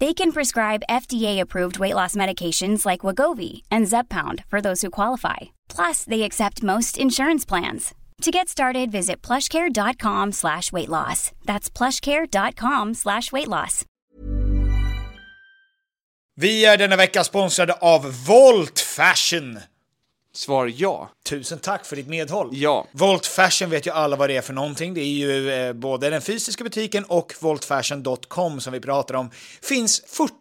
They can prescribe FDA-approved weight loss medications like Wagovi and Zepbound for those who qualify. Plus, they accept most insurance plans. To get started, visit plushcare.com slash weight loss. That's plushcare.com slash weight loss. Vi är denna vecka sponsrade av Volt Fashion. Svar ja. Tusen tack för ditt medhåll. Ja. Volt Fashion vet ju alla vad det är för någonting. Det är ju eh, både den fysiska butiken och voltfashion.com som vi pratar om. Finns 40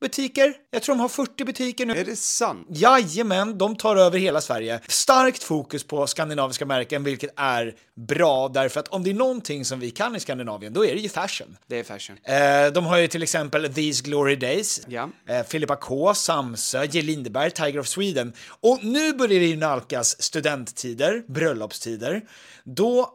butiker. Jag tror de har 40 butiker nu. Är det sant? Jajamän, de tar över hela Sverige. Starkt fokus på skandinaviska märken, vilket är bra därför att om det är någonting som vi kan i Skandinavien, då är det ju fashion. Det är fashion. Eh, de har ju till exempel These Glory Days, Ja. eh, Filippa K, Samsö, J. Lindeberg, Tiger of Sweden. Och nu börjar det ju nalkas studenttider, bröllopstider. Då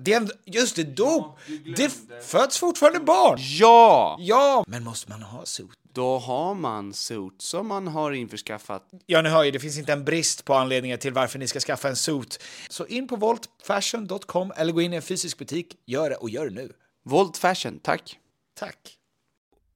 Det är en, just det, dop! det f- föds fortfarande barn! Ja! Ja! Men måste man ha suit? Då har man suits som man har införskaffat. Ja, ni hör ju, det finns inte en brist på anledningar till varför ni ska skaffa en suit. Så in på voltfashion.com eller gå in i en fysisk butik. Gör det och gör det nu. Volt fashion, tack. Tack.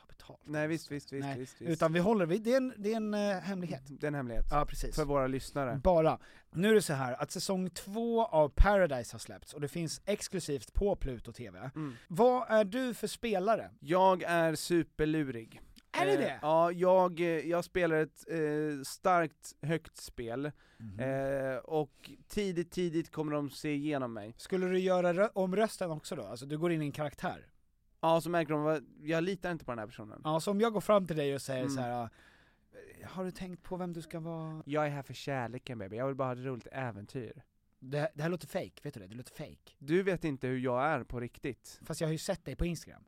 ta betalt. Nej visst, visst, visst, Nej, visst, visst. utan vi håller, vi, det är en, det är en eh, hemlighet. Det är en hemlighet. Ja, precis. För våra lyssnare. Bara. Nu är det så här att säsong två av Paradise har släppts och det finns exklusivt på Pluto TV. Mm. Vad är du för spelare? Jag är superlurig. Är det Eh, det? Ja, jag, eh, jag spelar ett eh, starkt, högt spel. Mhm. Eh, och tidigt, tidigt kommer de se igenom mig. Skulle du göra rö- om rösten också då? Alltså du går in i en karaktär? Mm. Ja, så märker de vad, jag litar inte på den här personen. Ja, så Alltså, om jag går fram till dig och säger Mm. så här. ah, har du tänkt på vem du ska vara? Jag är här för kärleken baby, jag vill bara ha ett roligt äventyr. Det, det här låter fake, vet du det? Det låter fake. Du vet inte hur jag är på riktigt. Fast jag har ju sett dig på Instagram.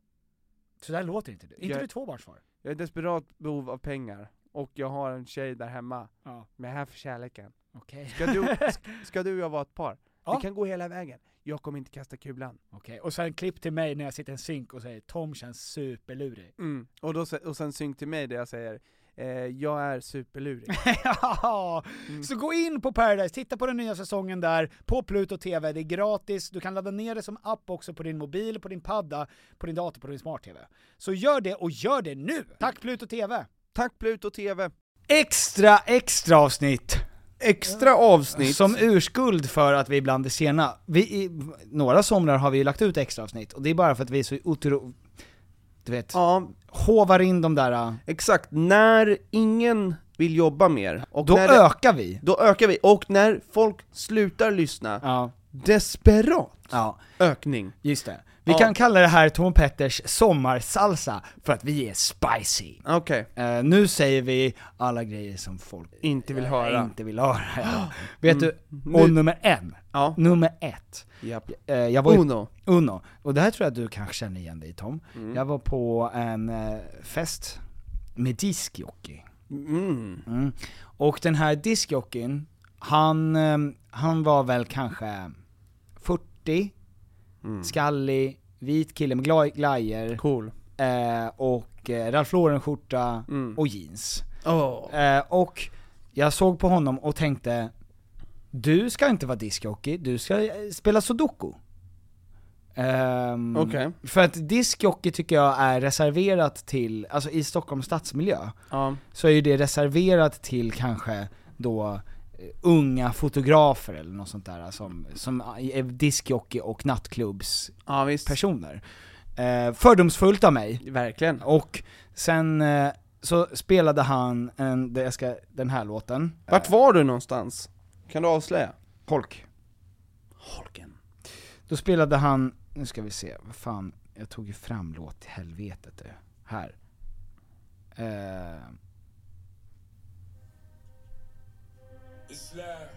Så där låter inte du. Är inte Jag- du tvåbarnsfar? Jag är i desperat behov av pengar, och jag har en tjej där hemma, Ja, men jag är här för kärleken. okej. Ska du, sk- ska du och jag vara ett par? Ja. Vi kan gå hela vägen. Jag kommer inte kasta kulan. Okej, och sen klipp till mig när jag sitter i en synk och säger Tom känns superlurig. Mm. Och, då, se- och sen synk till mig där jag säger, eh, jag är superlurig. ja! Mm. Så gå in på Paradise, titta på den nya säsongen där, på Pluto TV, det är gratis, du kan ladda ner det som app också på din mobil, på din padda, på din dator, på din smart-TV. Så gör det, och gör det nu! Tack Pluto TV! Tack Pluto TV! Extra, extra avsnitt! Extra avsnitt! Som urskuld för att vi ibland är sena. Vi, i, några somrar har vi ju lagt ut extra avsnitt och det är bara för att vi är så otro... Du vet, Ja, hovar in de där... äh, exakt. När ingen vill jobba mer, och Då när det- ökar vi! då ökar vi. Och när folk slutar lyssna, Ja. Desperat Ja, ökning. just det. Vi Ja. kan kalla det här Tom Petters sommarsalsa för att vi är spicy. Okej. Eh, nu säger vi alla grejer som folk Inte vill eh, höra. Ah. Mm. Inte vill höra. Ja. Vet du, och Nu- nummer en. Ja. Nummer ett. Japp. Eh, jag var ju Uno. Mm. Uno. Och det här tror jag att du kanske känner igen dig Tom. Jag var på en eh, fest med diskjockey. Mm. Mm. Och den här diskjockeyn, han, eh, han var väl kanske 40, skallig, vit kille med gla- glajer, Mm. Cool. eh, och eh, Ralph Lauren-skjorta Mm. och jeans. Åh. Eh, och jag såg på honom och tänkte, du ska inte vara diskjockey, du ska eh, spela sudoku. Ehm, Okej. För att diskjockey tycker jag är reserverat till, alltså i Stockholms stadsmiljö, Ja. så är ju det reserverat till kanske då eh, unga fotografer eller något sånt äh, där som, som är diskjockey och nattklubbspersoner. ja, visst. Äh, Eh, fördomsfullt av mig, Verkligen. och sen äh, eh, så spelade han en, det- jag ska, den här låten. Vart var du någonstans? Kan du avslöja? Holk. Holken. Då spelade han, nu ska vi se, vad fan, jag tog ju fram låt till helvetet du. Här. Eh, It's like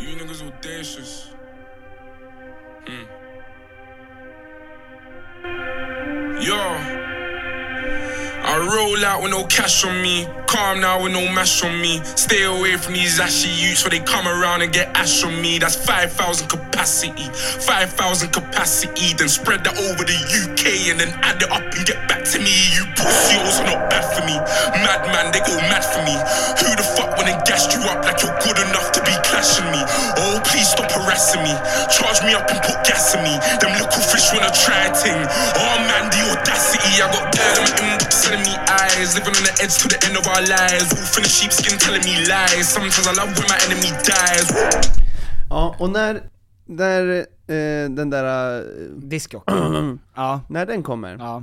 you niggas audacious. Hmm. Yo, I roll out with no cash on me. Calm now with no mash on me. Stay away from these ashy youths, for they come around and get ash on me. That's 5,000 capacity. 5,000 capacity. Then spread that over the UK and then add it up and get back to me. You pussy also not bad for me. Madman, they go mad for me. Who the fuck went and gassed you up like you're good enough to be clashing me? Oh, please stop harassing me. Charge me up and put gas in me. Them little fish wanna try a thing. Oh man, the audacity. I got tired of them selling me eyes. Living on the edge to the end of our lives. Wolf in the sheepskin telling me lies. Sometimes I love when my enemy dies. Ja, och när, när eh, den där, eh, Diskjockey. ja, när den kommer, ja,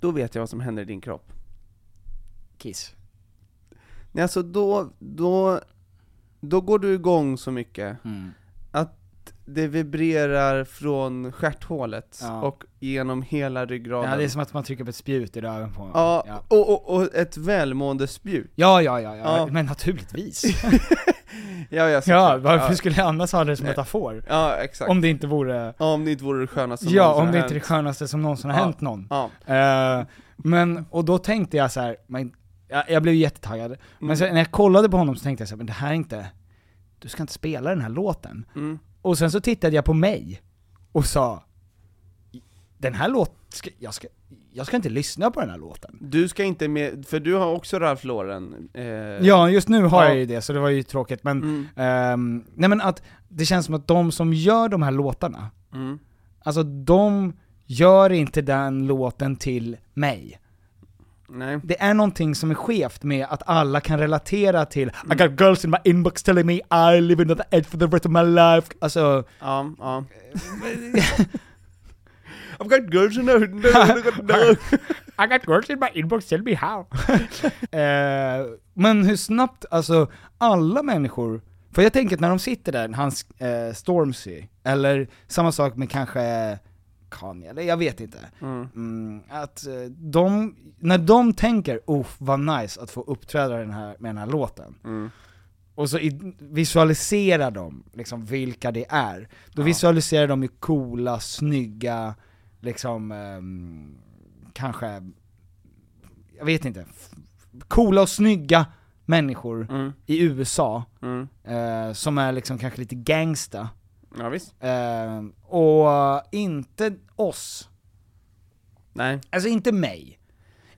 då vet jag vad som händer i din kropp. Kiss. Nej, alltså då, då, då går du igång så mycket Mm. att det vibrerar från stjärthålet Ja. och genom hela ryggraden. Ja, det är som att man trycker på ett spjut i röven på honom. Ja, ja. Och, och, och ett välmående spjut. Ja, ja, ja, ja, Ja. men naturligtvis. Ja, jag ja, varför ja. skulle jag annars ha det som metafor? ja, exakt. Om, Om det inte vore, ja, om det inte vore det skönaste som ja, någonsin om har det inte är det hänt. skönaste som någonsin har Ja. hänt någon. Ja, Eh, men, och då tänkte jag så här, men, jag, jag blev ju jättetaggad, Mm. men sen, när jag kollade på honom så tänkte jag så här, men det här är inte, du ska inte spela den här låten. Mm. Och sen så tittade jag på mig och sa, den här låten, ska, jag, ska, jag ska inte lyssna på den här låten. du ska inte med, för du har också Ralph Lauren. Eh, ja. Ja, just nu har Ja. Mm. jag ju det, så det var ju tråkigt, men, ehm, nej men att det känns som att de som gör de här låtarna, Mm. alltså de gör inte den låten till mig. Nej. det är någonting som är skevt med att alla kan relatera till Mm. I got girls in my inbox telling me I live in the edge for the rest of my life. Alltså, Ja, ja. I've got girls in the no, I got girls in my inbox tell me how. eh, men hur snabbt, alltså alla människor, för jag tänker att när de sitter där, hans eh, Stormzy, eller samma sak med kanske Kanye, eller jag vet inte. Mm, att eh, de, när de tänker oh vad nice att få uppträda den här, med den här låten. Och så i, visualiserar de liksom vilka det är. Då visualiserar de ju coola, snygga, liksom, ehm, kanske, jag vet inte, f- coola och snygga människor i USA, Mm. eh, som är liksom kanske lite gangsta. Ja, visst. Eh, och inte oss, Nej. alltså inte mig.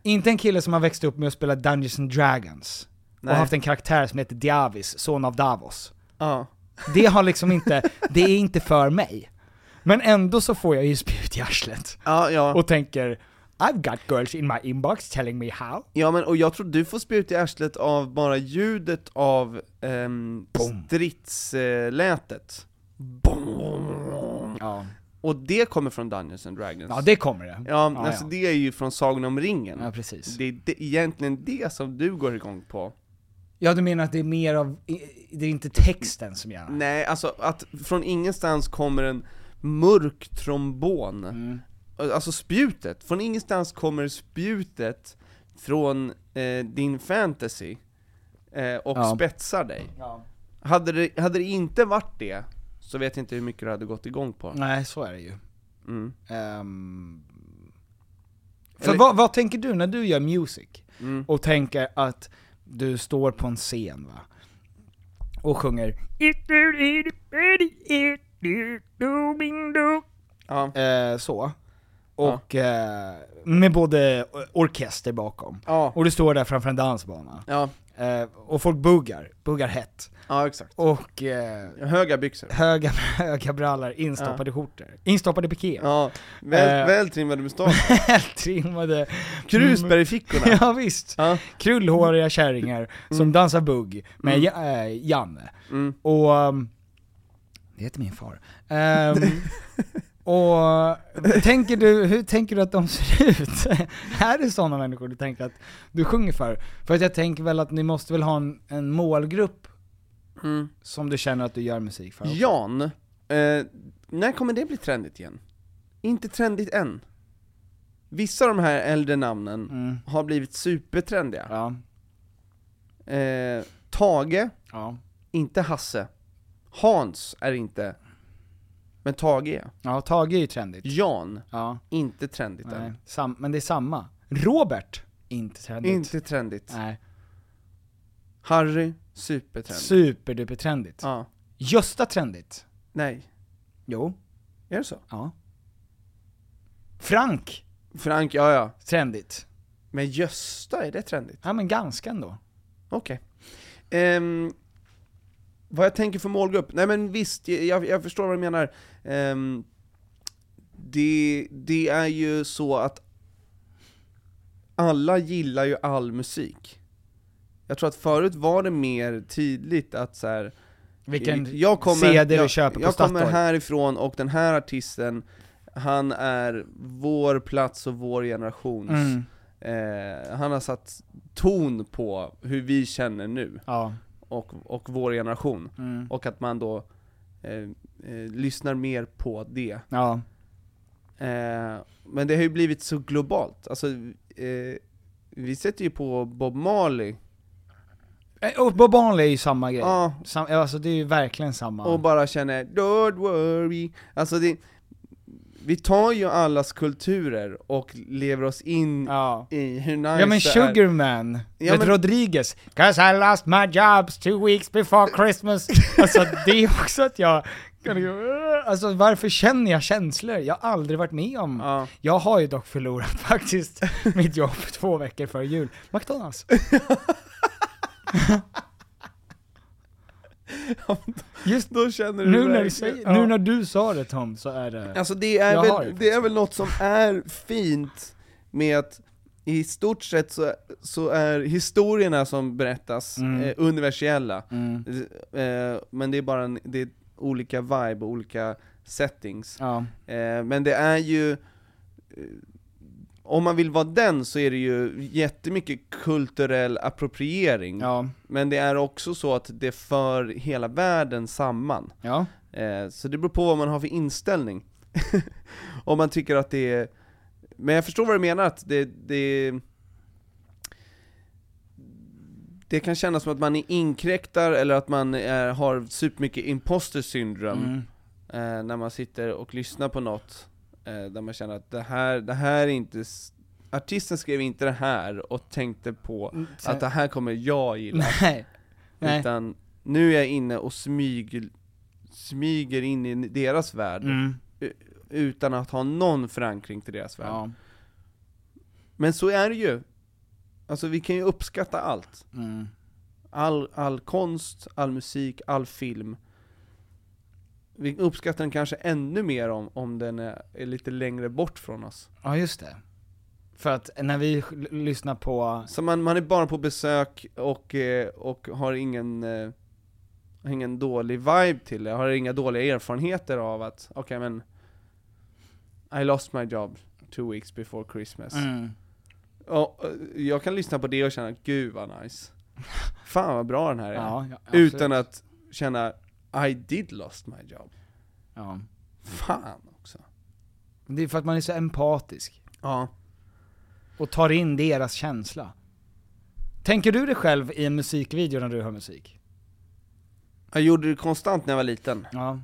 Inte en kille som har växt upp med att spela Dungeons and Dragons, Nej. och haft en karaktär som heter Diavis, son av Davos. Ja. Det har liksom inte, det är inte för mig. Men ändå så får jag ju spjut i arslet, Ja, ja. och tänker I've got girls in my inbox telling me how. ja men, och jag tror du får spjut i arslet av bara ljudet av um, stridslätet. Ja. Och det kommer från Dungeons and Dragons. Ja, det kommer det. Ja, ja, alltså ja. det är ju från Sagan om ringen. Ja, precis. Det är det, egentligen det som du går igång på. Ja, du menar att det är mer av, i- i- det är inte texten som gör det? Nej, alltså att från ingenstans kommer en mörk trombon. Mm. Alltså spjutet, från ingenstans kommer spjutet från eh, din fantasy eh, och Ja. spetsar dig. Hade, det, hade det inte varit det, så vet jag inte hur mycket du hade gått igång på. Nej, så är det ju. Mm. Ehm, för Eller- vad, vad tänker du när du gör music? Mm. Och tänker att du står på en scen va? Och sjunger Ja. eh, så. Och eh, med både o- orkester bakom. Ja. Och du står där framför en dansbana. ja, Eh, och folk buggar, buggar hett. ja exakt. Och eh, Höga byxor. höga, höga brallar, instoppade skjortor. Instoppade pikéer. Ja, väl, Eh. vältrimmade mustascher. Trimmade... Krusbär i fickorna. Mm. Ja, visst. Ja. Krullhåriga kärringar som dansar bugg med Ja- eh, Janne. Mm. Och... ehm, det heter min far. Ehm, och tänker du, hur tänker du att de ser ut? är det sådana människor du tänker att du sjunger för? För att jag tänker väl att ni måste väl ha en, en målgrupp Mm. som du känner att du gör musik för? också. Jan, eh, när kommer det bli trendigt igen? Inte trendigt än. Vissa av de här äldre namnen Mm. har blivit supertrendiga. Ja. Eh, Tage, Ja. inte Hasse. Hans är inte, men Tage är. Ja, Tage är ju trendigt. Jan, Ja. inte trendigt Nej. än. Sam, men det är samma. Robert, inte trendigt. Inte trendigt. Nej. Harry, supertrendigt. Superduper trendigt. ja. Gösta trendigt. Nej, Jo. är det så? Ja. Frank Frank, ja ja. trendigt. Men Gösta, är det trendigt? Ja men ganska ändå. Okej. Ehm, vad jag tänker för målgrupp? Nej men visst, jag, jag förstår vad du menar. Ehm, det, det är ju så att alla gillar ju all musik. Jag tror att förut var det mer tydligt att så här, Vilken jag kommer, CD du jag, köper på Jag kommer Statoil. härifrån och den här artisten, han är vår plats och vår generations Mm. eh, han har satt ton på hur vi känner nu Ja. och, och vår generation. Mm. Och att man då eh, eh, lyssnar mer på det. Ja. Eh, men det har ju blivit så globalt. Alltså, eh, vi sätter ju på Bob Marley Eh, Och Bob Marley är ju samma grej. Ja. Sam, ja, alltså det är ju verkligen samma. och bara känner 'Don't worry' Alltså det, vi tar ju allas kulturer och lever oss in ja. i hur nice Ja men det är. Sugarman, Ja, med men- Rodriguez, 'Cause I lost my jobs two weeks before Christmas' Alltså det är också att jag, alltså varför känner jag känslor? Jag har aldrig varit med om Ja. Jag har ju dock förlorat faktiskt mitt jobb två veckor före jul. McDonalds. Just Då känner du nu när, du verkligen- säger, ja. nu när du sa det Tom, så är det... Alltså det är, Jag har väl, det det är väl något som är fint med att i stort sett så, så är historierna som berättas Mm. eh, universella, Mm. eh, men det är bara en, det är olika vibe och olika settings. Ja. Eh, men det är ju, eh, om man vill vara den så är det ju jättemycket kulturell appropriering, Ja. men det är också så att det för hela världen samman. Ja. Eh, så det beror på vad man har för inställning. Om man tycker att det är... Men jag förstår vad du menar, att det, det... Det kan kännas som att man är inkräktar eller att man är, har supermycket imposter syndrome Mm. eh, när man sitter och lyssnar på något eh, där man känner att det här, det här är inte... s- Artisten skrev inte det här och tänkte på att det här kommer jag gilla. Nej. Nej. Utan nu är jag inne och smyger, smyger in i deras värld, Mm. utan att ha någon förankring till deras värld. Ja. Men så är det ju. Alltså vi kan ju uppskatta allt. Mm. All, all konst, all musik, all film. Vi uppskattar den kanske ännu mer om, om den är, är lite längre bort från oss. ja, just det. För att när vi l- lyssnar på... Så man, man är bara på besök och, eh, och har ingen, eh, har ingen dålig vibe till det, har inga dåliga erfarenheter av att, okej men I lost my job two weeks before Christmas. Mm. Och, eh, jag kan lyssna på det och känna, gud vad nice. fan vad bra den här är. Ja, ja, absolut. Utan att känna I did lost my job. Ja. Fan också. Det är för att man är så empatisk. Ja. Och tar in deras känsla. Tänker du dig själv i en musikvideo när du hör musik? Jag gjorde det konstant när jag var liten. Ja.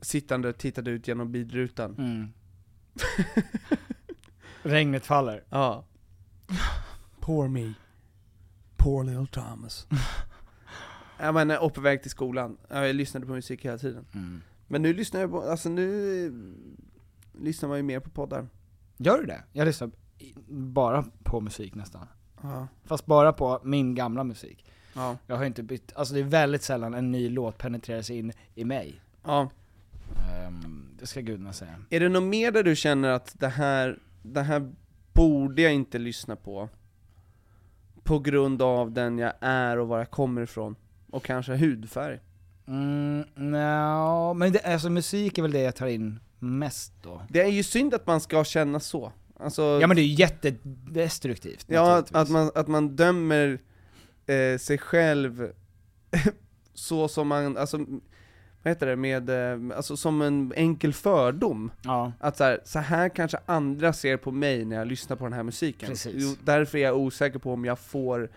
Sittande och tittade ut genom bilrutan. Mm. Regnet faller. Ja. Poor me. Poor little Thomas. jag menar, och eh, på väg till skolan. Jag lyssnade på musik hela tiden. Men nu lyssnar jag på, alltså nu eh, lyssnar man ju mer på poddar. Gör du det? Jag lyssnar i- bara på musik nästan. Ja. Fast bara på min gamla musik. Ja. Jag har inte bytt, alltså det är väldigt sällan en ny låt penetrerar sig in i mig. ja. Ehm, det ska gudarna säga. Är det något mer där du känner att det här, det här borde jag inte lyssna på? På grund av den jag är och var jag kommer ifrån. Och kanske hudfärg. Mm, no, men det, alltså musik är väl det jag tar in mest då. Det är ju synd att man ska känna så. Alltså, Ja men det är ju jättedestruktivt Ja, att, naturligtvis. att, man, att man dömer eh, sig själv så som man, alltså, vad heter det, med, eh, alltså som en enkel fördom. Ja, Att så här, så här kanske andra ser på mig när jag lyssnar på den här musiken. Precis. därför är jag osäker på om jag får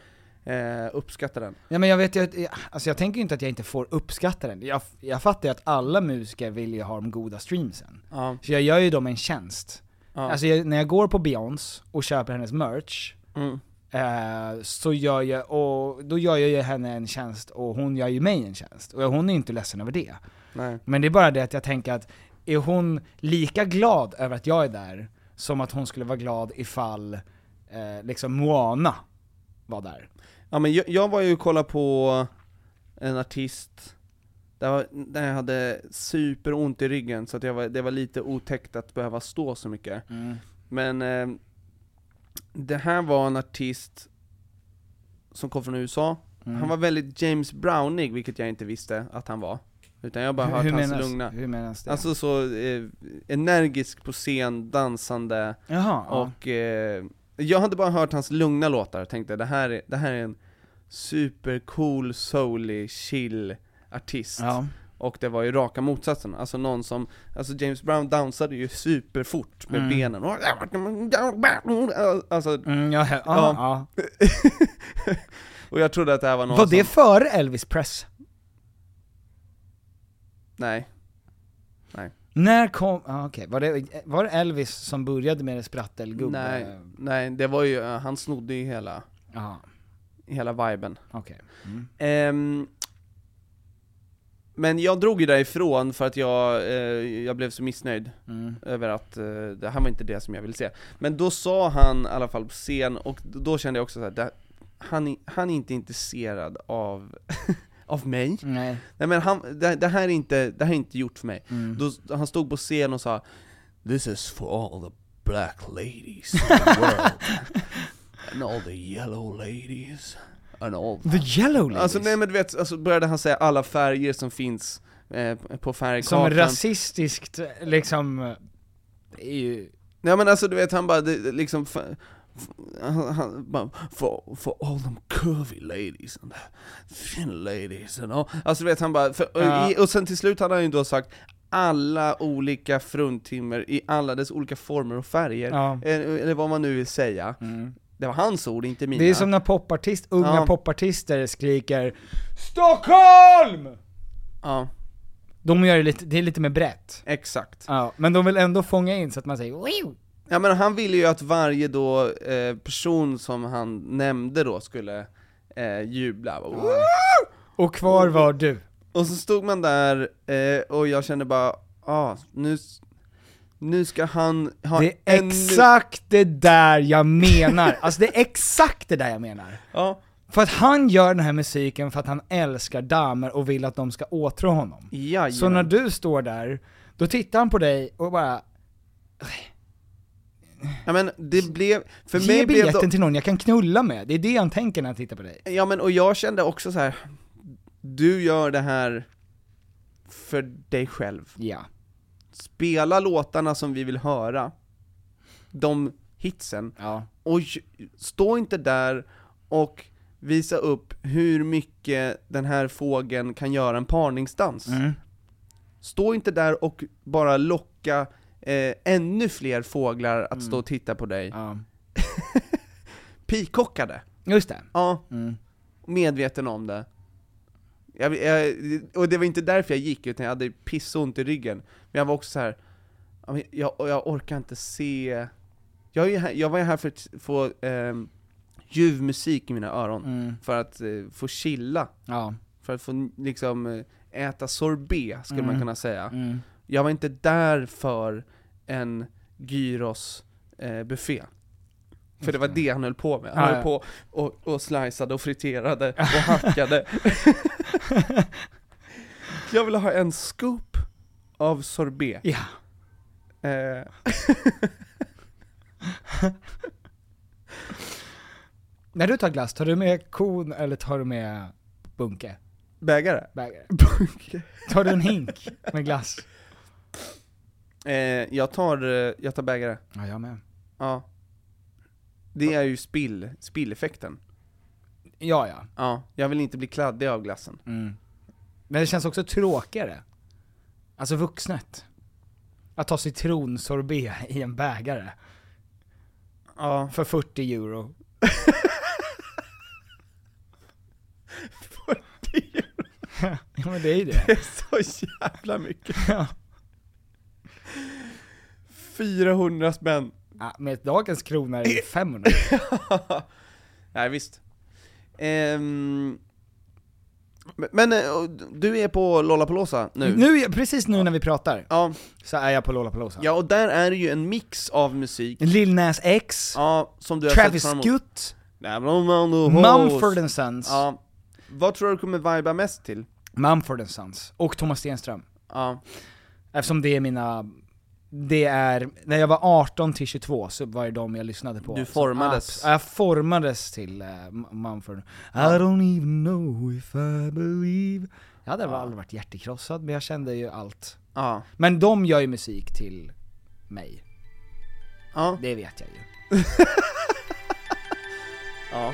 eh, uppskatta den. ja men jag vet ju att, jag- alltså jag tänker ju inte att jag inte får uppskatta den. Jag, jag fattar ju att alla musiker vill ju ha de goda streamsen. Ja, Så jag gör ju dem en tjänst. ja. Alltså jag, när jag går på Beyoncé och köper hennes merch, mm, eh, så gör jag, och då gör jag ju henne en tjänst och hon gör ju mig en tjänst. Och hon är ju inte ledsen över det. nej. Men det är bara det att jag tänker att, är hon lika glad över att jag är där, som att hon skulle vara glad ifall eh, liksom Moana var där? Ja men jag, jag var ju och kollade på en artist, där, var, där jag hade superont i ryggen så att jag var, det var lite otäckt att behöva stå så mycket. Mm. Men eh, det här var en artist som kom från USA, Mm. han var väldigt James Brownig, vilket jag inte visste att han var. Utan jag har bara Hur- hört hur hans menas- lugna. Hur menas det? Alltså så eh, energisk på scen, dansande, Jaha, ja. och eh, jag hade bara hört hans lugna låtar och tänkte det här är, det här är en supercool, soulig, chill artist. ja. Och det var ju raka motsatsen, alltså någon som, alltså James Brown dansade ju superfort med Mm. benen och alltså, Mm, ja, ja, Ja. ja. och jag trodde att det här var någon Var det som, före Elvis Press? nej, När kom, ah, okej, var, det, var det Elvis som började med det sprattelgubbe? nej, nej, det var ju, eh, han snodde ju hela, Jaha, hela viben. okej. Mm. Ehm, men jag drog ju därifrån för att jag, eh, jag blev så missnöjd Mm. över att eh, det här var inte det som jag ville se. Men då sa han i alla fall på scen, och då kände jag också så här, det, han, är- han är inte intresserad av, av mig. Nej. Nej men han, det, det, här är inte, det här är inte gjort för mig. Mm. Då, han stod på scen och sa This is for all the black ladies in the world. And all the yellow ladies. And all The Yellow Ladies? Alltså nej men du vet, alltså började han säga alla färger som finns eh, på som färgkartan. rasistiskt, liksom, eh, det är ju... Nej men alltså du vet, han bara det, det liksom, fa- f- han, han bara, for, for all them curvy ladies and thin ladies and all. Alltså du vet han bara, för, och Ja. i, och sen till slut hade han ju då sagt alla olika fruntimmer i alla dess olika former och färger. Ja. Eh, Eller vad man nu vill säga. Mm. Det var hans ord, inte mina. Det är som när popartist, unga Ja. popartister skriker 'STOCKHOLM!' Ja, De gör det lite, det är lite mer brett. exakt. Ja, men de vill ändå fånga in så att man säger 'Wii!' Ja men han ville ju att varje då eh, person som han nämnde då skulle eh, jubla. Och kvar var du. Och så stod man där eh, och jag kände bara, ah, nu, s- nu ska han ha Det är ännu- exakt det där jag menar. Alltså det är exakt det där jag menar. Ja, För att han gör den här musiken för att han älskar damer och vill att de ska åtrå honom. jajamän. Så när du står där, då tittar han på dig och bara ja, men det blev, för Ge mig blev biljetten det, till någon jag kan knulla med, det är det han tänker när han tittar på dig. ja men och jag kände också så här. du gör det här för dig själv. Ja. Spela låtarna som vi vill höra, de hitsen, Ja. och j- stå inte där och visa upp hur mycket den här fågeln kan göra en parningsdans. Stå inte där och bara locka eh, ännu fler fåglar att stå och titta på dig. Ja. Pikockade. Just det. Ja, Mm. medveten om det. Jag, jag, och det var inte därför jag gick, utan jag hade pissont i ryggen. Men jag var också så här. ja, men jag, och jag orkar inte se... Jag, är ju här, jag var ju här för att få ehm, ljuv musik i mina öron, Mm. för att eh, få chilla, Ja. för att få liksom eh, äta sorbet, skulle man Mm. kunna säga. Mm. Jag var inte där för en gyros eh, buffé. För det var det han höll på med. Han Ja, höll Ah, ja. på och, och sliceade och friterade och hackade. jag ville ha en scoop av sorbet. Ja. Eh, När du tar glass, tar du med kon eller tar du med bunke? bägare. Bägare? Tar du en hink med glass? Eh, jag tar, eh, jag tar bägare. Ja, jag med. Ja. Det är ju spill, spilleffekten. Ja, ja. Ja, jag vill inte bli kladdig av glassen. Mm. Men det känns också tråkigare. Alltså vuxnet. Att ta citronsorbet i en bägare Ja. för 40 euro. 40 euro. Ja men det är ju Det det. är så jävla mycket. Ja. 400 spänn. Ja, med dagens krona är det 500. Nej visst. Ehm, men- men eh, och du är på Lollapalooza nu? Nu, precis nu när vi pratar, Ja, så är jag på Lollapalooza. ja, och där är det ju en mix av musik, Lil Nas X, ja, som du har Travis sett fram emot. Scott, Nej, men om man då hålls. Mumford and Sons. Ja. Vad tror du kommer viba mest till? Mumford and Sons. Och Thomas Stenström. Ja, Eftersom det är mina, det är, när jag var 18 till 22 så var det de jag lyssnade på. Du formades. Så, abs- jag formades till uh, Mumford. I don't even know if I believe. Jag hade väl aldrig varit hjärtekrossad men jag kände ju allt. ja, Men de gör ju musik till mig, ja, det vet jag ju. ja.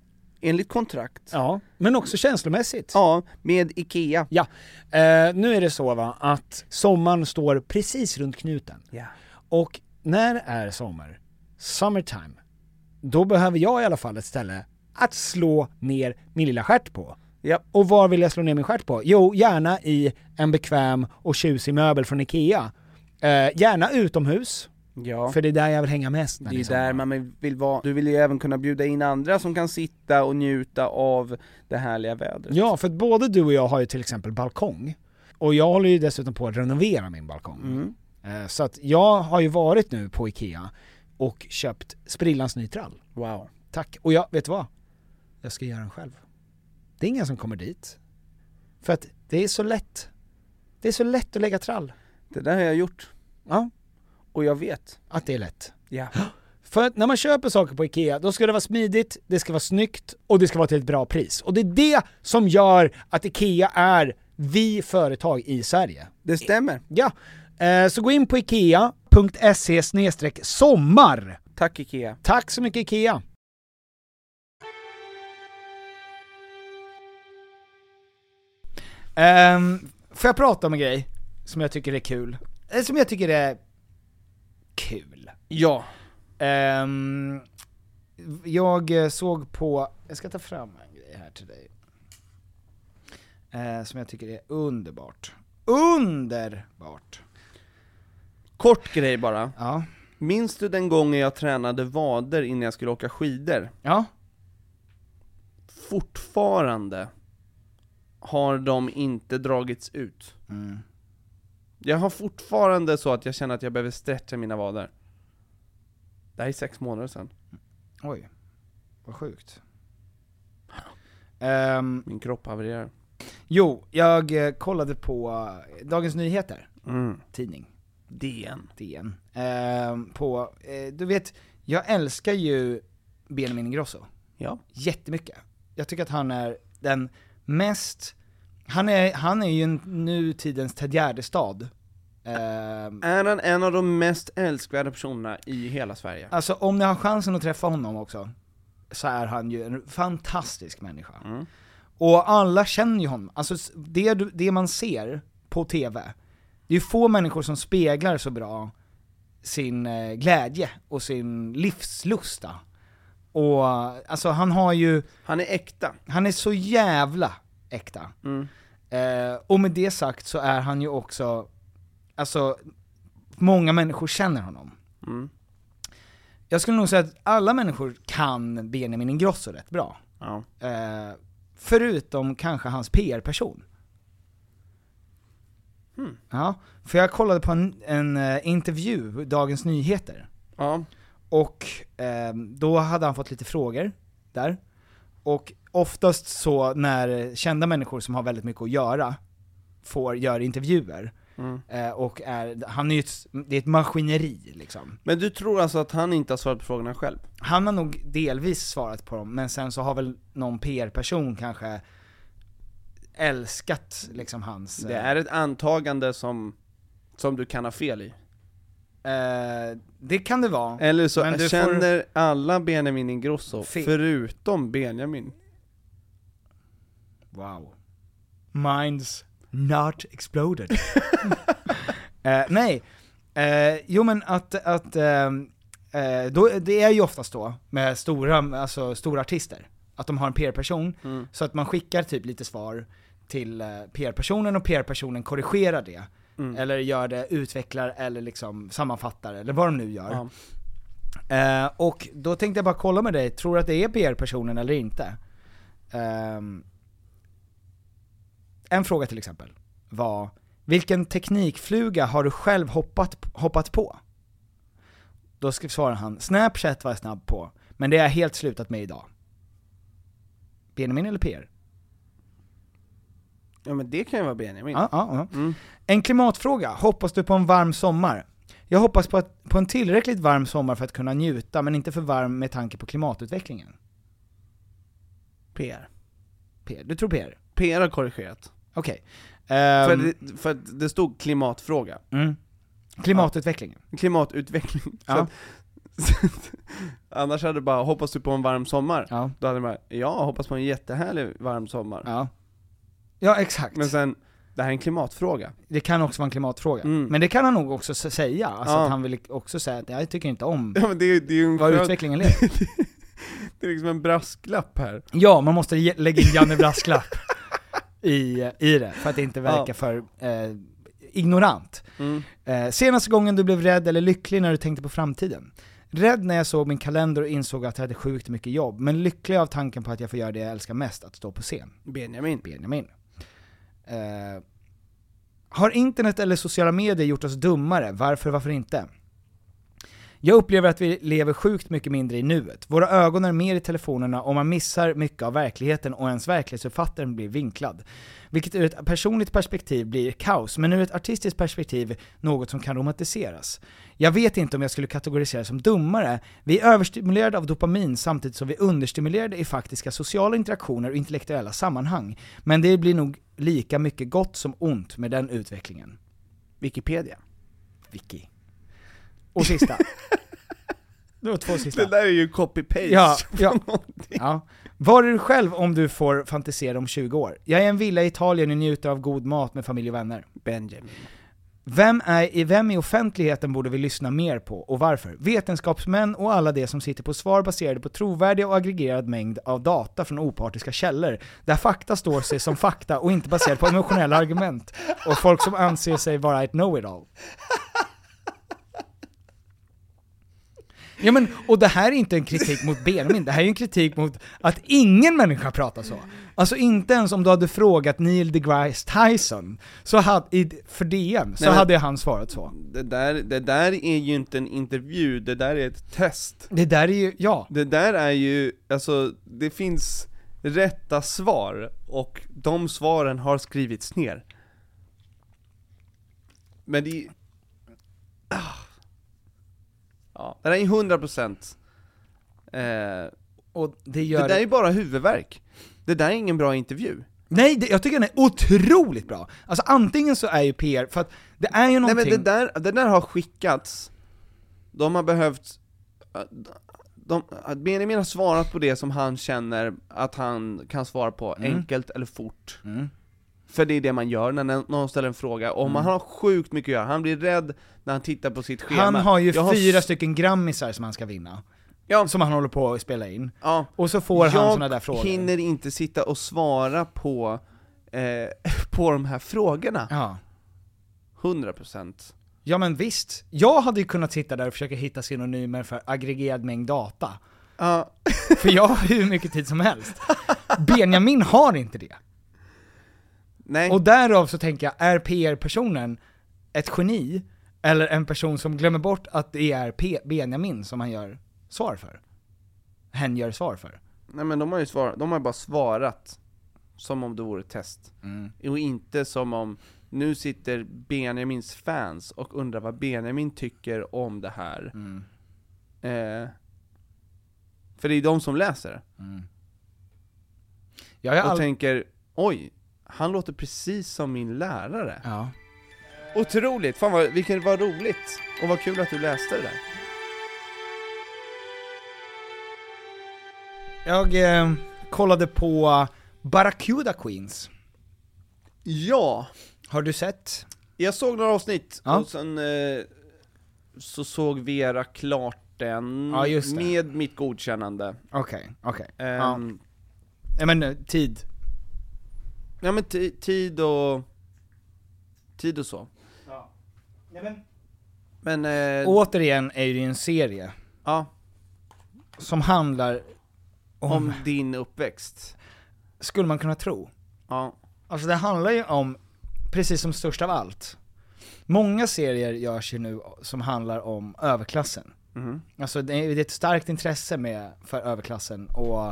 enligt kontrakt. Ja, men också känslomässigt. Ja, med IKEA. Ja, eh, nu är det så va att sommaren står precis runt knuten. Ja. Och när är sommar? Summertime. Då behöver jag i alla fall ett ställe att slå ner min lilla stjärt på. Japp. Och var vill jag slå ner min stjärt på? Jo, gärna i en bekväm och tjusig möbel från IKEA. Eh, gärna utomhus, Ja. för det är där jag vill hänga mest. när Det är är ju sommar. där man vill vara. Du vill ju även kunna bjuda in andra som kan sitta och njuta av det härliga vädret. Ja, för att både du och jag har ju till exempel balkong. Och jag håller ju dessutom på att renovera min balkong. Eh, Så att jag har ju varit nu på IKEA och köpt sprillans ny trall. Wow. Tack. Och jag, vet du vad? Jag ska göra den själv. Det är ingen som kommer dit. För att det är så lätt. Det är så lätt att lägga trall. Det där har jag gjort. Ja. Och jag vet. Att det är lätt. Ja. För att när man köper saker på IKEA, då ska det vara smidigt, det ska vara snyggt och det ska vara till ett bra pris. Och det är det som gör att IKEA är vi företag i Sverige. Det stämmer. Ja. Eh, Så gå in på IKEA.se sommar. Tack IKEA. Tack så mycket IKEA. Um, får jag prata om en grej som jag tycker är kul? Eller som jag tycker är kul. Ja. Ehm, jag eh, såg på, jag ska ta fram en grej här till dig. Eh, som jag tycker är underbart. Underbart! Kort grej bara. Ja. Minns du den gången jag tränade vader innan jag skulle åka skidor? Ja. Fortfarande har de inte dragits ut. Jag har fortfarande så att jag känner att jag behöver stretcha mina vader. Det här är sex månader sedan. Oj, vad sjukt. Ehm, Min kropp havererar. jo, jag eh, kollade på eh, Dagens Nyheter, Mm. tidning. DN. DN. Ehm, på, eh, du vet, jag älskar ju Benjamin Ingrosso. Ja. jättemycket. Jag tycker att han är den mest, han är, han är ju en- nutidens Ted Gärdestad. Ehm, Är han en av de mest älskvärda personerna i hela Sverige? alltså om ni har chansen att träffa honom också, så är han ju en fantastisk människa. Mm. Och alla känner ju honom. Alltså s- det, du- det man ser på TV, det är ju få människor som speglar så bra sin eh, glädje och sin livslusta. Och alltså han har ju, Han är äkta. han är så jävla äkta. Mm. Eh, och med det sagt så är han ju också, alltså, många människor känner honom. Mm. Jag skulle nog säga att alla människor kan Benjamin Ingrosso rätt bra. Ja. Eh, förutom kanske hans PR-person. Hmm. Ja, för jag kollade på en, en eh, intervju, Dagens Nyheter. ja. Och eh, då hade han fått lite frågor där. Och oftast så när kända människor som har väldigt mycket att göra får göra intervjuer, Mm. eh, och är, han är ju ett, det är ett maskineri liksom. Men du tror alltså att han inte har svarat på frågorna själv? Han har nog delvis svarat på dem, men sen så har väl någon PR-person kanske älskat liksom hans... Det eh, är ett antagande som, som du kan ha fel i. eh, det kan det vara. Eller så Men du känner alla Benjamin Ingrosso, Fel. förutom Benjamin. Wow. Minds not exploded. Eh, nej, eh, jo men att, att ehm, eh, då, det är ju oftast då med stora, alltså, stora artister, att de har en PR-person, Mm. så att man skickar typ lite svar till eh, PR-personen och PR-personen korrigerar det. Mm. Eller gör det, utvecklar eller liksom sammanfattar eller vad de nu gör. Ja. Eh, och då tänkte jag bara kolla med dig, tror du att det är PR-personen eller inte? Ehm, en fråga till exempel var, vilken teknikfluga har du själv hoppat, hoppat på? Då skrev- svarade han, Snapchat var jag snabb på, men det har jag helt slutat med idag. Benjamin eller PR? Mm. ja men det kan ju vara Benjamin. Ja, ja, ja. Mm. En klimatfråga, hoppas du på en varm sommar? Jag hoppas på, att, på en tillräckligt varm sommar för att kunna njuta, men inte för varm med tanke på klimatutvecklingen. PR. PR, du tror PR? PR har korrigerat. Okej. Ehm, för, det, för att det stod klimatfråga. mm. Klimatutvecklingen. Klimatutveckling. Så Ja. att, annars hade du bara 'hoppas du på en varm sommar' Ja. Då hade man 'ja, hoppas på en jättehärlig varm sommar' Ja. Ja, exakt. Men sen, det här är en klimatfråga. det kan också vara en klimatfråga. Mm. Men det kan han nog också s- säga, alltså Ja. att han vill också säga att jag tycker inte om Ja men det, är- det är ju en vad skön- utvecklingen leder till." Det är liksom en brasklapp här. Ja, man måste ge- lägga in Janne Brasklapp i, i det, för att det inte verkar Ja. Mm. för eh, ignorant. Eh, senaste gången du blev rädd eller lycklig när du tänkte på framtiden? Rädd när jag såg min kalender och insåg att jag hade sjukt mycket jobb, men lycklig av tanken på att jag får göra det jag älskar mest, att stå på scen. Benjamin. Benjamin. Eh, har internet eller sociala medier gjort oss dummare? Varför, varför inte? Jag upplever att vi lever sjukt mycket mindre i nuet. Våra ögon är mer i telefonerna och man missar mycket av verkligheten och ens verklighetsuppfattning blir vinklad. Vilket ur ett personligt perspektiv blir kaos, men ur ett artistiskt perspektiv något som kan romantiseras. Jag vet inte om jag skulle kategoriseras som dummare. Vi är överstimulerade av dopamin samtidigt som vi är understimulerade i faktiska sociala interaktioner och intellektuella sammanhang. Men det blir nog lika mycket gott som ont med den utvecklingen. Wikipedia. Wiki. Och sista. det var två sista. Det där är ju copy-paste Ja, ja. från någonting. Ja. Var är du själv om du får fantisera om 20 år? Jag är i en villa i Italien och njuter av god mat med familj och vänner. Benjamin. Vem, är, i- vem i offentligheten borde vi lyssna mer på och varför? Vetenskapsmän och alla de som sitter på svar baserade på trovärdiga och aggregerad mängd av data från opartiska källor, där fakta står sig som fakta och inte baserat på emotionella argument, och folk som anser sig vara ett know-it-all. Ja men, och det här är inte en kritik mot Benjamin, det här är en kritik mot att ingen människa pratar så. Alltså inte ens om du hade frågat Neil deGrasse Tyson, så hade, i- för DM, så Nej, men- hade han svarat så. Det där, det där är ju inte en intervju, det där är ett test. Det där är ju, ja. Det där är ju, alltså, det finns rätta svar, och de svaren har skrivits ner. Men det ah. Ja, det där är ju 100% eh, Och det Det gör... där är ju bara huvudvärk. Det där är ingen bra intervju. Nej, det, jag tycker den är otroligt bra! Alltså antingen så är ju PR, för att det är ju någonting... Nej men det där, det där har skickats, de har behövt, eh, de, att Benjamin har svarat på det som han känner att han kan svara på Mm. enkelt eller fort. Mm. För det är det man gör när nä- någon ställer en fråga, och Mm. man har sjukt mycket att göra, han blir rädd när han tittar på sitt schema. Han har ju Jag fyra s- stycken grammisar som han ska vinna. Ja. Som han håller på att spela in. Ja. Och så får han Jag såna där frågor. hinner inte sitta och svara på, eh, på de här frågorna. Ja. 100% Ja men visst, jag hade ju kunnat sitta där och försöka hitta synonymer för aggregerad mängd data. Ja. För jag har hur mycket tid som helst. Benjamin har inte det. Nej. Och därav så tänker jag, är PR-personen ett geni? Eller en person som glömmer bort att det är P- Benjamin som han gör svar för? Hen gör svar för. Nej men de har ju svarat, de har ju bara svarat som om det vore ett test. Och inte som om, nu sitter Benjamins fans och undrar vad Benjamin tycker om det här. Eh, för det är ju de som läser det. Jag är och all... tänker, oj, han låter precis som min lärare. Ja. Otroligt, fan vad, vilken, vad roligt! Och vad kul att du läste det där. Jag eh, kollade på Barracuda Queens. Ja, Har du sett? Jag såg några avsnitt, Ja. och sen eh, så såg Vera klart den, Ja, just det. med mitt godkännande. Okej, okej. Ja. Ehm, Ja men eh, tid. Ja men ti- tid och, tid och så. Men, eh, Återigen är det ju en serie ja, som handlar om, om din uppväxt. skulle man kunna tro. Ja, Alltså det handlar ju om, precis som störst av allt, många serier görs ju nu som handlar om överklassen. mhm. Alltså det är det är ett starkt intresse med, för överklassen och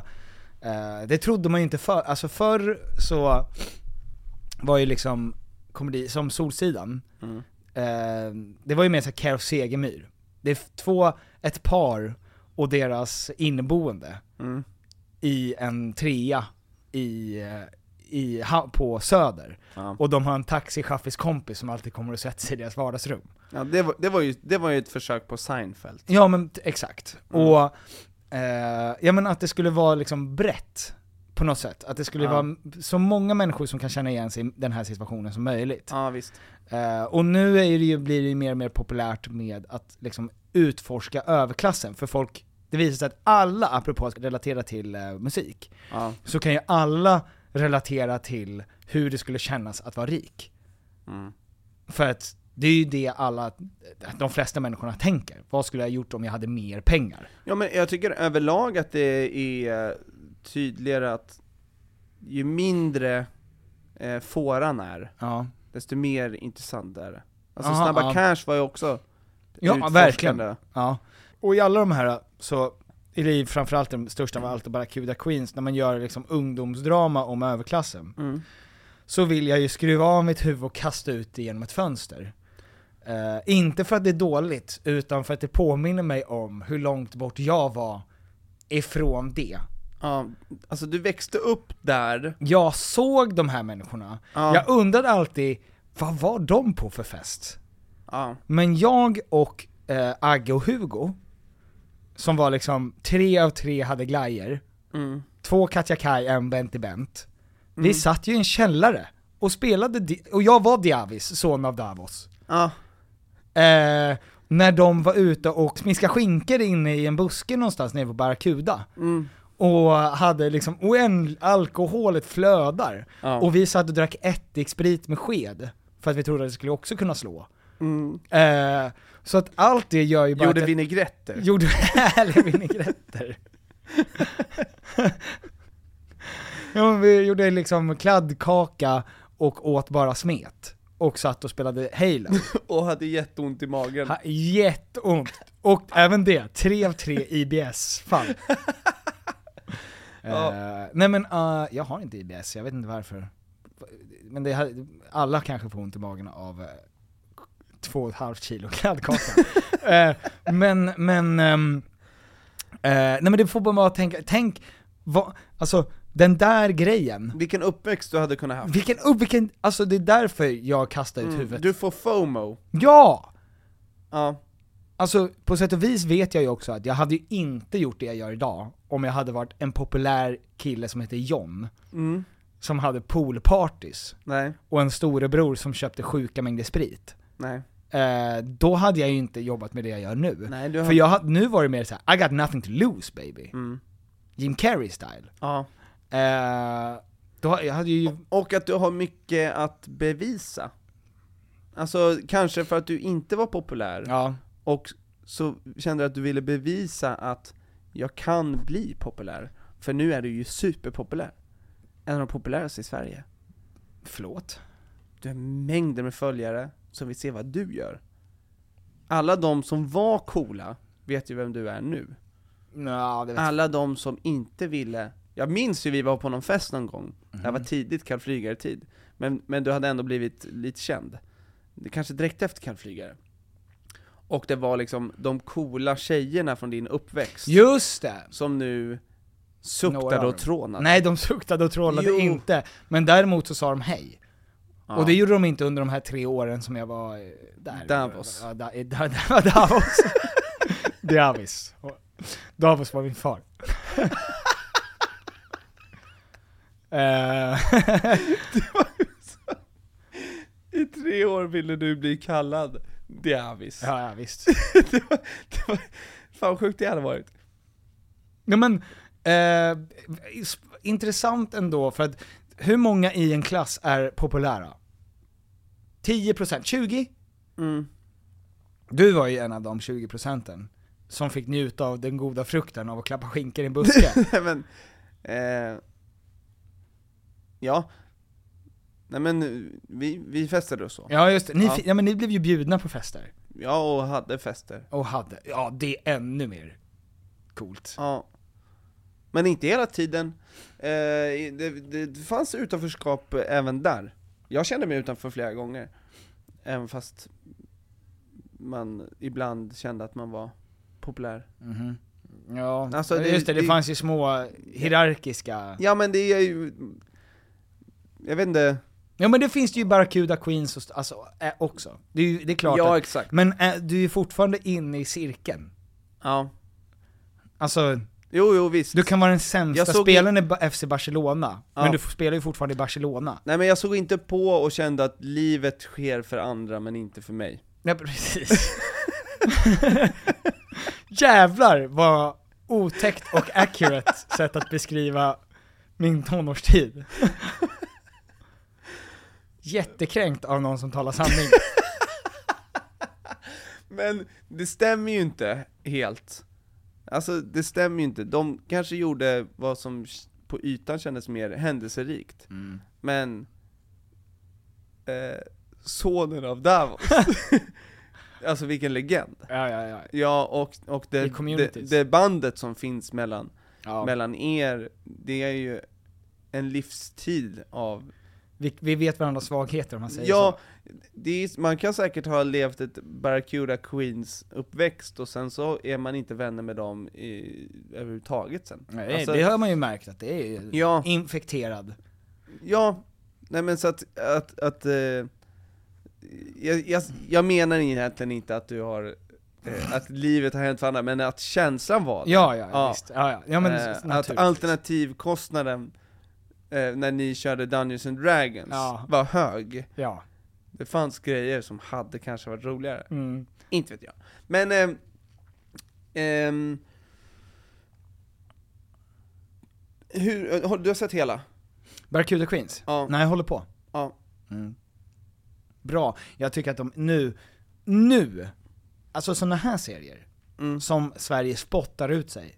eh, det trodde man ju inte för alltså förr så var ju liksom komedi, som Solsidan, Mm. eh, det var ju mer såhär Care of Segemyhr. Det är f- två, ett par och deras inneboende Mm. i en trea i, eh, i, ha- på Söder. Ja. Och de har en taxichaufförskompis som alltid kommer och sätter sig i deras vardagsrum. ja det, var, det, var ju, det var ju ett försök på Seinfeld. Ja men t- exakt. Mm. Och, eh, ja men att det skulle vara liksom brett på något sätt. Att det skulle Ja. vara m- så många människor som kan känna igen sig i den här situationen som möjligt. Ja visst. Eh, och nu är det ju, blir det ju mer och mer populärt med att liksom utforska överklassen, för folk, det visar sig att alla, apropå att relatera till eh, musik, Ja. så kan ju alla relatera till hur det skulle kännas att vara rik. Mm. För att det är ju det alla, de flesta människorna tänker. Vad skulle jag ha gjort om jag hade mer pengar? Ja men jag tycker överlag att det är tydligare att ju mindre eh, fåran är, Ja. desto mer intressant är det. Alltså Aha, Snabba ja. Cash var ju också Ja, utforskande. verkligen. Ja. Och i alla de här så är det ju framförallt den största av allt, Barracuda Queens, när man gör liksom ungdomsdrama om överklassen. Mm. Så vill jag ju skruva av mitt huvud och kasta ut det genom ett fönster. Eh, inte för att det är dåligt, utan för att det påminner mig om hur långt bort jag var ifrån det. Ja, alltså du växte upp där. Jag såg de här människorna, Ja. jag undrade alltid, vad var de på för fest? Ja. Men jag och eh, Agge och Hugo, som var liksom, tre av tre hade glajer, Mm. två Katja Kaj, en Bent i Bent. Mm. Vi satt ju i en källare och spelade, di- och jag var Diavis, son av Davos. Ja. Eh, när de var ute och smiskade skinkor inne i en buske någonstans nere på Barracuda. Mm. Och hade liksom, oänd, alkoholet flödar. Ja. Och vi satt och drack ättiksprit med sked, för att vi trodde att det skulle också kunna slå. Mm. Eh, så att allt det gör ju bara Gjorde att- vinägretter. Gjorde härliga vinägretter. ja, men vi gjorde liksom kladdkaka och åt bara smet. Och satt och spelade Halo. Och hade jätteont i magen. Ha, jätteont. Och även det, tre av tre IBS-fall. Ja. Eh, nej men eh, jag har inte IBS, jag vet inte varför. Men det, här- alla kanske får ont i magen av eh, två och ett halvt kilo kladdkaka. Eh, men, men, ehm, eh, nej men det får man bara tänka, tänk, vad, alltså den där grejen, Vilken uppväxt du hade kunnat haft. vilken, upp, vilken, alltså det är därför jag kastar ut Mm, huvudet. Du får FOMO. Ja! Ja. Alltså på sätt och vis vet jag ju också att jag hade ju inte gjort det jag gör idag om jag hade varit en populär kille som heter John, Mm. som hade poolpartys Nej, och en storebror som köpte sjuka mängder sprit. nej. Eh, då hade jag ju inte jobbat med det jag gör nu. Nej, du har... För jag hade, nu var det mer så här: I got nothing to lose baby. Mm. Jim Carrey style. Ja. Eh, då, jag hade ju, Och att du har mycket att bevisa. Alltså, kanske för att du inte var populär, ja, och så kände du att du ville bevisa att jag kan bli populär. För nu är du ju superpopulär. En av de populäraste i Sverige. förlåt. Du har mängder med följare som vill se vad du gör. Alla de som var coola vet ju vem du är nu. Nå, det vet Alla de som inte ville, jag minns ju vi var på någon fest någon gång, det Mhm. här var tidigt Karl Flygare-tid, men, men du hade ändå blivit lite känd. Det kanske direkt efter Karl Flygare. Och det var liksom de coola tjejerna från din uppväxt, Just det! som nu Några av suktade dem. och trånade. Nej, de suktade och trollade Jo. inte, men däremot så sa de hej. Ja. Och det gjorde de inte under de här tre åren som jag var eh, där. Davos. Ja, da, eh, da, da, Davos. Davis. Och Davos var min far. Eh, I tre år ville du bli kallad Diavis. ja, ja, visst. det var, det var, fan vad sjukt det hade varit. Ja, men, eh, sp- intressant ändå, för att hur många i en klass är populära? 10%? 20? Mm. Du var ju en av de 20 procenten som fick njuta av den goda frukten av att klappa skinkor i en buske. Nej men, eh, ja. Nej men, eh, vi, vi festade och så. Ja. ja just det. ni, Ja. fi- ja, men ni blev ju bjudna på fester. och hade fester. Och hade, ja det är ännu mer coolt. Ja. Men inte hela tiden. Eh, i- det, det, det fanns utanförskap även där. Jag kände mig utanför flera gånger. Även fast man ibland kände att man var populär. Mhm. Ja, Alltså, men det- just det, det, det- fanns ju små hierarkiska... Ja. Ja men det är ju, jag vet inte. men det finns det ju Barracuda Queens och, st- alltså, äh, också. Det är, ju, det är klart Ja att, exakt. Men äh, du är ju fortfarande inne i cirkeln. Ja. Alltså, Jo jo visst. du kan vara den Jag sämsta såg spelaren i Ba- FC Barcelona, Ja. men du f- spelar ju fortfarande i Barcelona. Nej men jag såg inte på och kände att livet sker för andra men inte för mig. Ja precis. Jävlar vad otäckt och accurate sätt att beskriva min tonårstid. Jättekränkt av någon som talar sanning. Men det stämmer ju inte helt. Alltså det stämmer ju inte. De kanske gjorde vad som på ytan kändes mer händelserikt. Mm. Men eh, sonen av Davos alltså vilken legend. Ja, ja, ja. ja och, och I det, det, communities. det bandet som finns mellan, Ja. mellan er, det är ju en livstid av Vi, vi vet varandras svagheter om man säger Ja, det är, man kan säkert ha levt ett Barracuda Queens uppväxt och sen så är man inte vänner med dem i, överhuvudtaget sen. Alltså, så. Nej, det har man ju märkt att det är ju Ja. infekterad. Ja, nej men så att, att, att eh, jag, jag, jag menar egentligen inte att du har, eh, att livet har hänt för andra, men att känslan var det. Eh, Ja, ja, visst. Ja, Eh, ja. Ja, men Att naturligtvis. alternativkostnaden, eh, när ni körde Dungeons and Dragons, Ja. var hög. Ja. Det fanns grejer som hade kanske varit roligare. Mm. Inte vet jag. Men, ehm, ehm, hur, har, du har sett hela? Barracuda Queens? Nej, jag håller på. Ja. Mm. Bra. Jag tycker att de nu, nu, alltså sådana här serier, som Sverige spottar ut sig,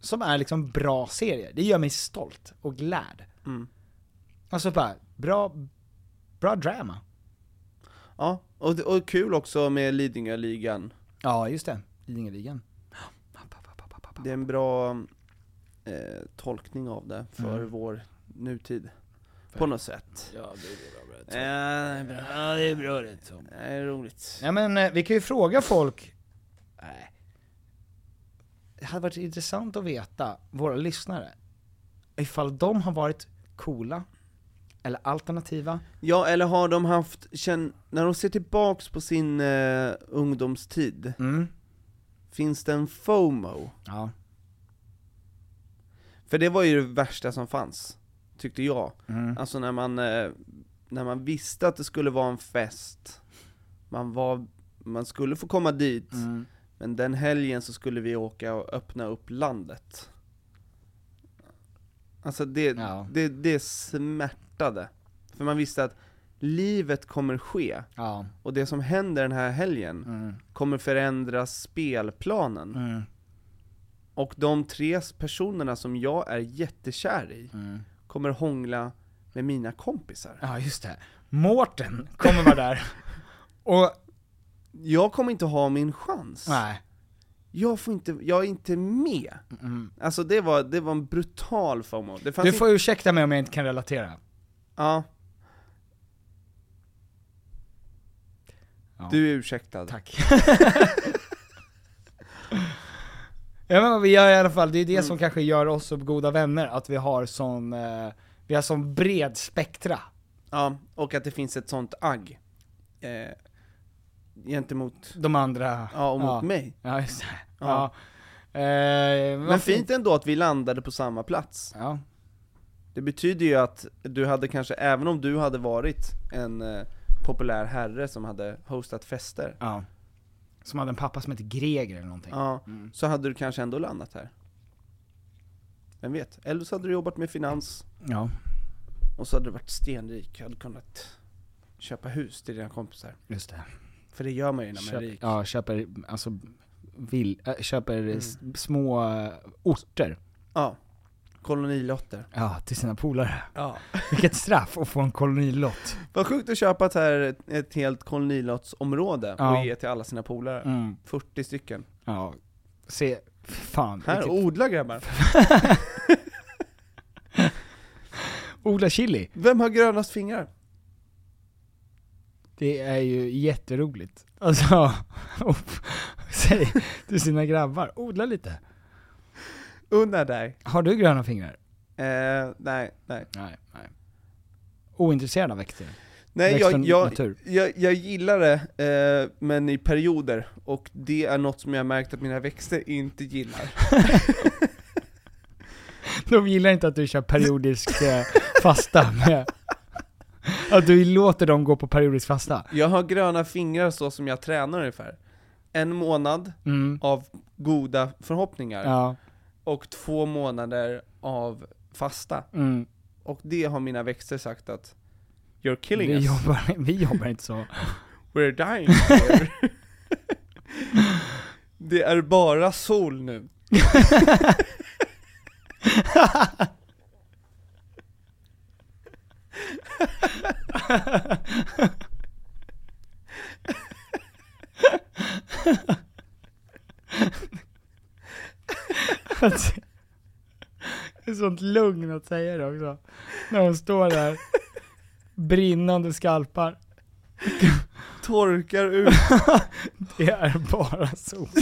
som är liksom bra serier, det gör mig stolt och glad. Mm. Alltså bara, bra, bra drama. Ja, och, det- och kul också med Lidingöligan. Ja, just det. Lidingöligan. Det är en bra eh, tolkning av det för Mm. vår nutid. På något sätt. Ja, det är bra, Ja, det är bra. Ja, det är bra rätt Det är roligt. Ja men eh, vi kan ju fråga folk, Nej. det hade varit intressant att veta, våra lyssnare, ifall de har varit coola, eller alternativa, Ja, eller har de haft, känn, när de ser tillbaks på sin eh, ungdomstid, Mm. finns det en FOMO? Ja. För det var ju det värsta som fanns, tyckte jag. Mm. Alltså när man, eh, när man visste att det skulle vara en fest, man, var, man skulle få komma dit, Mm. men den helgen så skulle vi åka och öppna upp landet. Alltså det, Ja. det, det smärtade. För man visste att livet kommer ske, Ja. och det som händer den här helgen Mm. kommer förändra spelplanen. Och de tre personerna som jag är jättekär i Mm. kommer hångla med mina kompisar. ja just det, Mårten kommer vara där. Och jag kommer inte ha min chans. Nej. Jag får inte, jag är inte med. Alltså det var, det var en brutal FOMO. Det fanns Mm. Du inte- får ursäkta mig om jag inte kan relatera. Ja. Ja. Du är ursäktad. Tack. Ja men vi gör i alla fall, det är det som kanske gör oss så goda vänner, att vi har sån, eh, vi har sån bred spektra. Ja, och att det finns ett sånt agg. Eh, gentemot... De andra. Ja, och mot mig. Ja, just det. Ja. Ja. Eh, Men vad fint ändå att vi landade på samma plats. Ja. Det betyder ju att du hade kanske, även om du hade varit en eh, populär herre som hade hostat fester, Ja. Som hade en pappa som hette Greger eller någonting. ja, så hade du kanske ändå landat här. Vem vet? Eller så hade du jobbat med finans, Ja. och så hade du varit stenrik, hade kunnat köpa hus till dina kompisar. Just det. För det gör man ju när man är Köp, rik. Mm. ja, köper, alltså, vill, äh, köper s- små eh, orter. Ja. Kolonilotter. Ja, till sina polare. Ja. Vilket straff att få en kolonilott. Vad sjukt att köpa ett, här, ett- ett helt kolonilottsområde Ja. och ge till alla sina polare. Mm. 40 stycken. Ja, se, fan. Här, oh. vilket- odla grabbar! Odla chili. Vem har grönast fingrar? Det är ju jätteroligt. Alltså, säg till sina grabbar, odla lite. Unna dig! Har du gröna fingrar? Eh, nej, nej. Nej, nej. Ointresserad av växter? Nej, Växt och jag, jag, natur. jag, jag gillar det, eh, men i perioder. Och det är något som jag har märkt att mina växter inte gillar. De gillar inte att du kör periodisk eh, fasta med... Att du låter dem gå på periodisk fasta? Jag har gröna fingrar så som jag tränar ungefär. En månad Mm. av goda förhoppningar, Ja. och två månader av fasta. Mm. Och det har mina växter sagt att You're killing Vi us, jobbar, vi jobbar inte så. we're dying here. Det är bara sol nu. För att- Det är sånt lugn att säga det också. När hon står där, brinnande skalpar. Torkar ut. det är bara sol.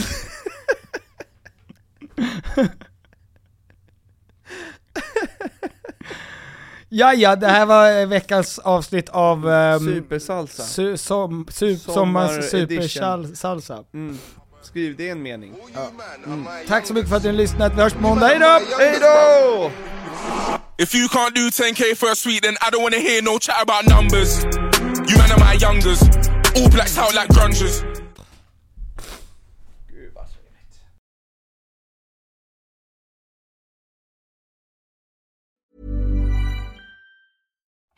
ja, ja, det här var eh, veckans avsnitt av... ehm, Supersalsa. Su, som, su, Sommar sommars edition. supersalsa. Mm. Skriv det i en mening. Mm. Tack så mycket för att ni har lyssnat, vi hörs på måndag, hejdå! Hejdå! If you can't do 10k first week, then I don't wanna hear no chat about numbers. You man are my youngers, all blacks out like grungers.